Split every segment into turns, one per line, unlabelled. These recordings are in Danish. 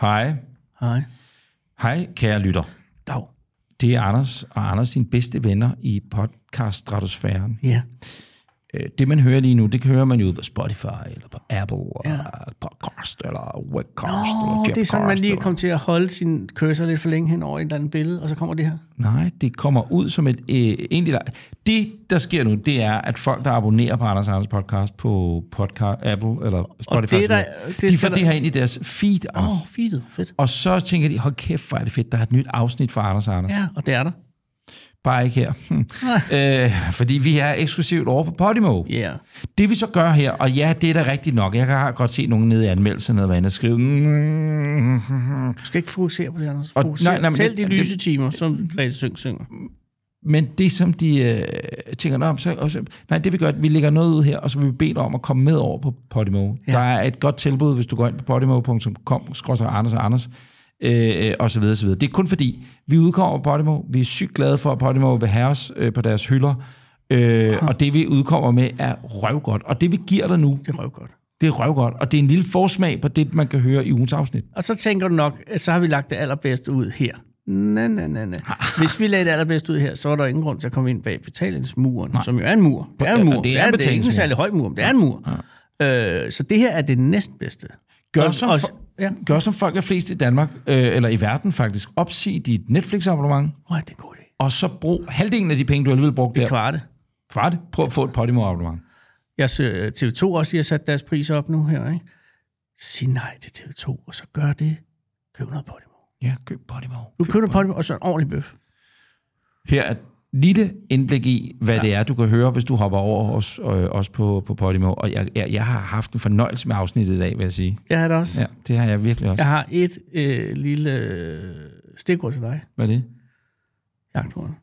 Hej.
Hej.
Hej, kære lytter.
Dag.
Det er Anders og Anders, din bedste venner i podcast Stratosfæren.
Ja.
Det, man hører lige nu, det hører man jo på Spotify, eller på Apple, ja.
Ja.
eller Podcast, eller Webcast, eller
Åh,
Jabcast.
det er sådan, man lige
eller-
kommer til at holde sin cursor lidt for længe hen over et eller andet billede, og så kommer det her.
Nej, det kommer ud som et... Øh, egentlig, der, det, der sker nu, det er, at folk, der abonnerer på Anders og Anders podcast på podcast, Apple eller Spotify,
det er der-
sådan noget,
det
de
skal
får
der-
det her ind i deres feed. Anders.
Åh, oh, feedet. Fedt.
Og så tænker de, hold kæft, hvor er det fedt, der er et nyt afsnit fra Anders og Anders.
Ja, og det er der.
Bare ikke her. Hm. øh, fordi vi er eksklusivt over på Podimo.
Ja. Yeah.
Det vi så gør her, og ja, det er da rigtigt nok. Jeg kan godt se nogen nede i anmeldelsen eller hvad andet skrive. "Mm."
Du skal ikke fokusere på det, Anders.
Og-
Fokusere.
nej, nej, men
Tæl
det-
de
det-
lyse timer, som Grete Syng synger.
Men det, som de øh, tænker, Nå, men så, og så, nej, det vi gør, at vi lægger noget ud her, og så vil vi bede dig om at komme med over på Podimo. Ja. Der er et godt tilbud, hvis du går ind på podimo.com, skråser Anders og Anders, øh, og så videre, så videre. Det er kun fordi, vi udkommer på Podimo, vi er sygt glade for, at Podimo vil have os øh, på deres hylder, øh, og det vi udkommer med er røvgodt. Og det vi giver dig nu,
Det er røvgodt.
det er røvgodt, og det er en lille forsmag på det, man kan høre i ugens afsnit.
Og så tænker du nok, at så har vi lagt det allerbedste ud her. Nej, nej, nej, nej. Hvis vi lagde det allerbedste ud her, så var der ingen grund til at komme ind bag betalingsmuren, nej. som jo er en mur. Det er en mur.
Og det er en
det er ikke en
betalingsmur.
særlig høj mur, men det er en mur. Ja. Øh, så det her er det næstbedste.
Gør
Og-
som,
og-
fo-
ja.
gør som folk er flest i Danmark, øh, eller i verden faktisk, opsig dit Netflix-abonnement,
Åh, det er en god idé.
og så brug halvdelen af de penge, du alligevel brugte der.
Kvarte.
Kvart. Prøv at få et Podimo-abonnement.
Jeg ser øh, TV2 også, de har sat deres priser op nu her, ikke? Sig nej til TV2, og så gør det. Køb noget på det.
Ja, køb Podimo.
Du køber på det, og så en ordentlig bøf.
Her er et lille indblik i, hvad ja. det er, du kan høre, hvis du hopper over os, øh, os på, på Podimo. Og jeg, jeg, jeg har haft en fornøjelse med afsnittet i dag, vil jeg sige.
Det har jeg da også. Ja.
Ja, det har jeg virkelig også.
Jeg
Ja.
har et øh, lille øh, stikord til dig,
Hvad er det?
jagtorden.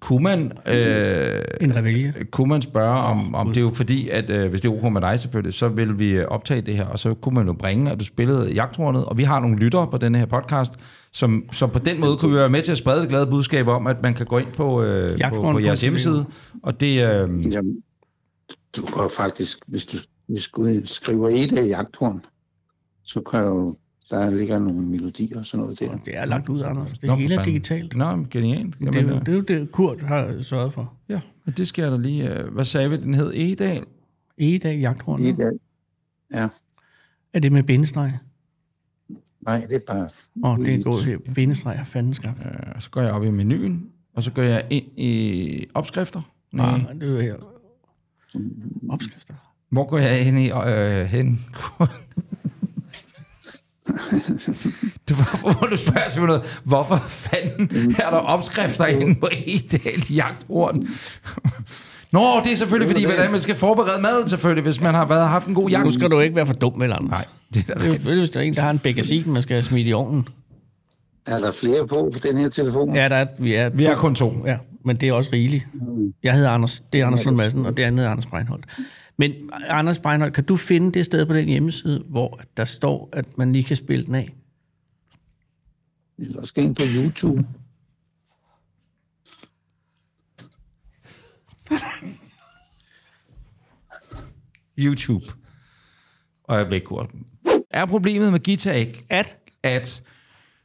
Kunne man, øh,
En revelje.
kunne man spørge om, om det er jo fordi, at øh, hvis det er ok med dig selvfølgelig, så vil vi øh, optage det her, og så kunne man jo bringe, at du spillede jagthornet, og vi har nogle lyttere på denne her podcast, som, som på den måde kunne vi være med til at sprede det glade budskab om, at man kan gå ind på, øh, på, på
Jagthornet.dk.
jeres hjemmeside, og det, øh,
Jamen, du kan faktisk, hvis du, hvis du skriver et af jagthorn, så kan du, der ligger nogle melodier og sådan noget der.
Det er lagt ud, Anders. Det
Nå,
Nå,
for
hele er
fanden.
digitalt.
Nå, men genialt. Jamen,
Det er, jo,
øh,
det er jo det, Kurt har sørget for.
Ja, men det skal jeg da lige... øh, Hvad sagde vi, den hed? Egedal?
Egedag jagthorn.
Et af, ja,
Er det med bindestreg?
nej, det er bare...
Åh, oh, det er godt her. Bindestreg har fanden skabt. Ja.
Øh, Så går jeg op i menuen, og så går jeg ind i opskrifter. Nej.
Ah, det er jo her. Opskrifter.
Hvor går jeg hen i... Øh, hen? Det var, hvor du spørger sig noget. Hvorfor fanden er der opskrifter inde på E Egedal jagthorn? Nå, det er selvfølgelig, fordi hvordan man skal forberede maden selvfølgelig, hvis man har været, haft en god jagt.
Nu skal du ikke være for dum, vel, Anders?
Nej, det er da
Det er jo selvfølgelig, hvis der er en, der har en bækkasin, man skal smide i ovnen.
Er der flere på på den her telefon?
Ja, der er, vi er,
Vi er kun to.
Ja, men det er også rigeligt. Jeg hedder Anders, det er Anders Lund Madsen, og det andet er Anders Breinholt. Men Anders Breinholt, kan du finde det sted på den hjemmeside, hvor der står, at man lige kan spille den af?
Eller også gå ind på YouTube.
YouTube. Og jeg blev kort. Er problemet med guitar ikke,
At?
at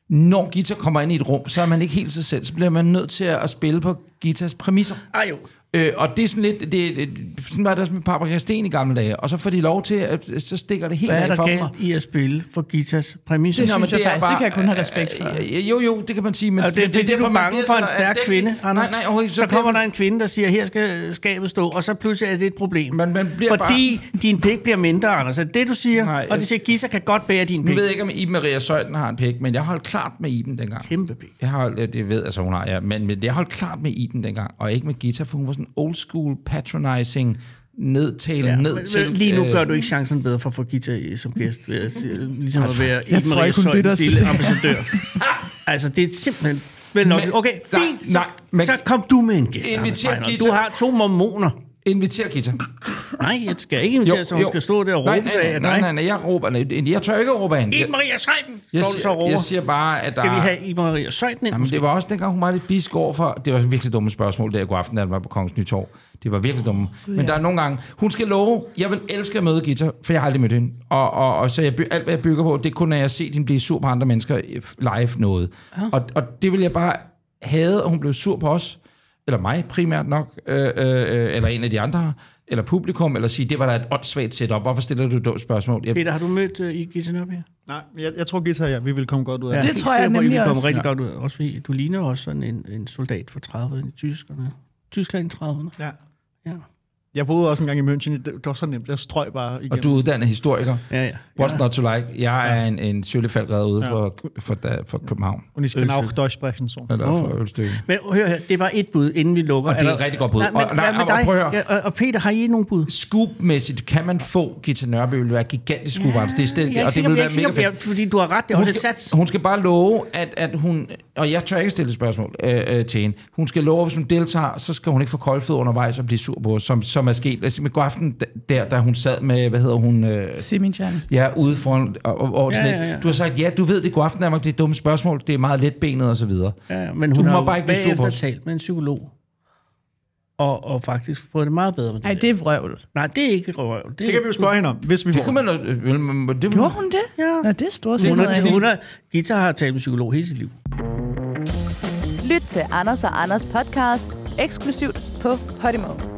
når guitar kommer ind i et rum, så er man ikke helt sig selv, så bliver man nødt til at spille på guitars præmisser.
Ej jo.
Øh, og det er sådan lidt, det, det, sådan var det også med Paprika Sten i gamle dage, og så får de lov til, at så stikker det helt
Hvad
af
er der
for mig.
galt i at spille for guitars præmisser?
Nå, men
synes jeg
er
faktisk, det kan jeg kun have respekt for.
Øh, Jo, jo, det kan man sige, men
Og det, det, det, det er du er
man
bange
bliver
for en
sådan, at
stærk
det-
kvinde, Anders.
Nej, nej, overhovedet ikke.
så, så
bliver
kommer
man-
der en kvinde, der siger, her skal øh, skabet stå, og så pludselig er det et problem.
Men man bliver
Fordi din pik bliver mindre, Anders. Er det det, du siger?
Nej,
og
jeg-
de siger, Gissa kan godt bære din
Nu
pik.
ved jeg ikke, om Iben Maria Søjden har en pæk, men jeg holdt klart med Iben dengang.
Kæmpe pik.
Jeg har holdt, ja, det ved altså hun har, ja, men, men jeg holdt klart med Iben dengang, og ikke med guitar, for hun var sådan old school patronizing, nedtale, ja, ned
Men
til...
Lige nu
øh,
gør du ikke chancen bedre for at få Gita i- som gæst, ved at sige- ligesom at være
Jeg
Iben
tror
Maria
ikke, hun lytter
Søjden
til-
stille ambassadør. altså, det er simpelthen... Vel nok,
Men-
okay,
nej,
fint, så,
nej, men-
så kom du med en gæst, Anders
Inviter
Breinholt.
Gita.
Du har to mormoner.
Øh, Inviter Gita.
Nej, jeg skal ikke invitere, så hun skal stå der og
nej,
råbe sig
nej,
af
nej,
dig.
nej, nej, nej, jeg råber, nej, jeg tør ikke råbe af hende.
Iben
Jeg,
Maria Søjden,
jeg,
står du så og
siger,
råber.
jeg siger bare, at der...
Skal vi have Iben Maria Søjden ind?
Jamen, det var også dengang, hun var lidt bisk over for... Det var virkelig dumme spørgsmål, da jeg går aften, da jeg var på Kongens Nytorv. Det var virkelig dumme. Men der er nogle gange... Hun skal love, jeg vil elske at møde Gita, for jeg har aldrig mødt hende. Og, og, og så jeg, by- alt, hvad jeg bygger på, det er kun, at jeg har set hende blive sur på andre mennesker øh, live noget. Og, og det vil jeg bare have, at hun blev sur på os. Eller mig primært nok. Øh, øh, øh, eller en af de andre eller publikum, eller sige, det var da et åndssvagt setup. Hvorfor stiller du et dumt spørgsmål? Jeg,
Peter, har du mødt uh, Gita Nørby?
Nej, jeg, jeg tror, Gita og jeg, vi vil komme godt ud af
Ja,
det.
er
tror jeg
sikker på, I
nemlig
vil komme
også.
rigtig godt ud. Også fordi du ligner også sådan en, en soldat for 30'erne i tyskerne. Tyskland i 30'erne.
Ja.
Ja.
Jeg boede også en gang i München. Det, det var så nemt. Jeg strøg bare igennem.
og du er uddannet historiker.
Ja, ja.
What's not to like? Jeg er en, en sølefaldred ude ja. for, for, da, for København.
Und ich kann auch Deutsch sprechen so.
Eller oh. for Ølstykke.
Men hør her, det er bare et bud, inden vi lukker.
Og det er
der-
et rigtig godt bud.
Nej, men,
Og- nej,
hvad med
og- og
dig?
prøv at høre.
Ja, og, og Peter, har I nogen bud?
Scoop-mæssigt kan man få Gita Nørby, vil være gigantisk scoop ja, det er
Jeg er
stedet,
ikke
og det
sikker,
vil være
jeg er ikke
mega
sikker,
fedt.
for- fordi du har ret, det er også et sats.
hun skal bare love, at, at hun... Og jeg tør ikke stille spørgsmål øh, øh, til hende. Hun skal love, at hvis hun deltager, så skal hun ikke få koldfød undervejs og blive sur på os, som, som er sket. Altså, med god aften, der, da hun sad med, hvad hedder hun... Øh,
Siminjan.
ja, ude foran... Og, og, og ja,
ja,
ja,
ja.
ja. Du har sagt, ja, du ved det er god aften, Danmark, det er dumme spørgsmål, det er meget letbenet og så videre.
Ja, men
Du
hun
må
har jo
bare ikke blive sur på
bagefter
os.
talt med en psykolog. Og, og faktisk fået det meget bedre med det.
Nej, det
der.
er vrøvl.
Nej, det er ikke røv. Det,
Det kan vi jo spørge hende om, hvis vi
Det
får.
kunne man... øh, vel, men- Det,
Gjorde hun det?
Ja.
Nå, det er stort set
Hun
noget
er,
andet.
hun er, Gita har talt med psykolog hele sit liv.
Lyt til Anders og Anders podcast eksklusivt på Podimo.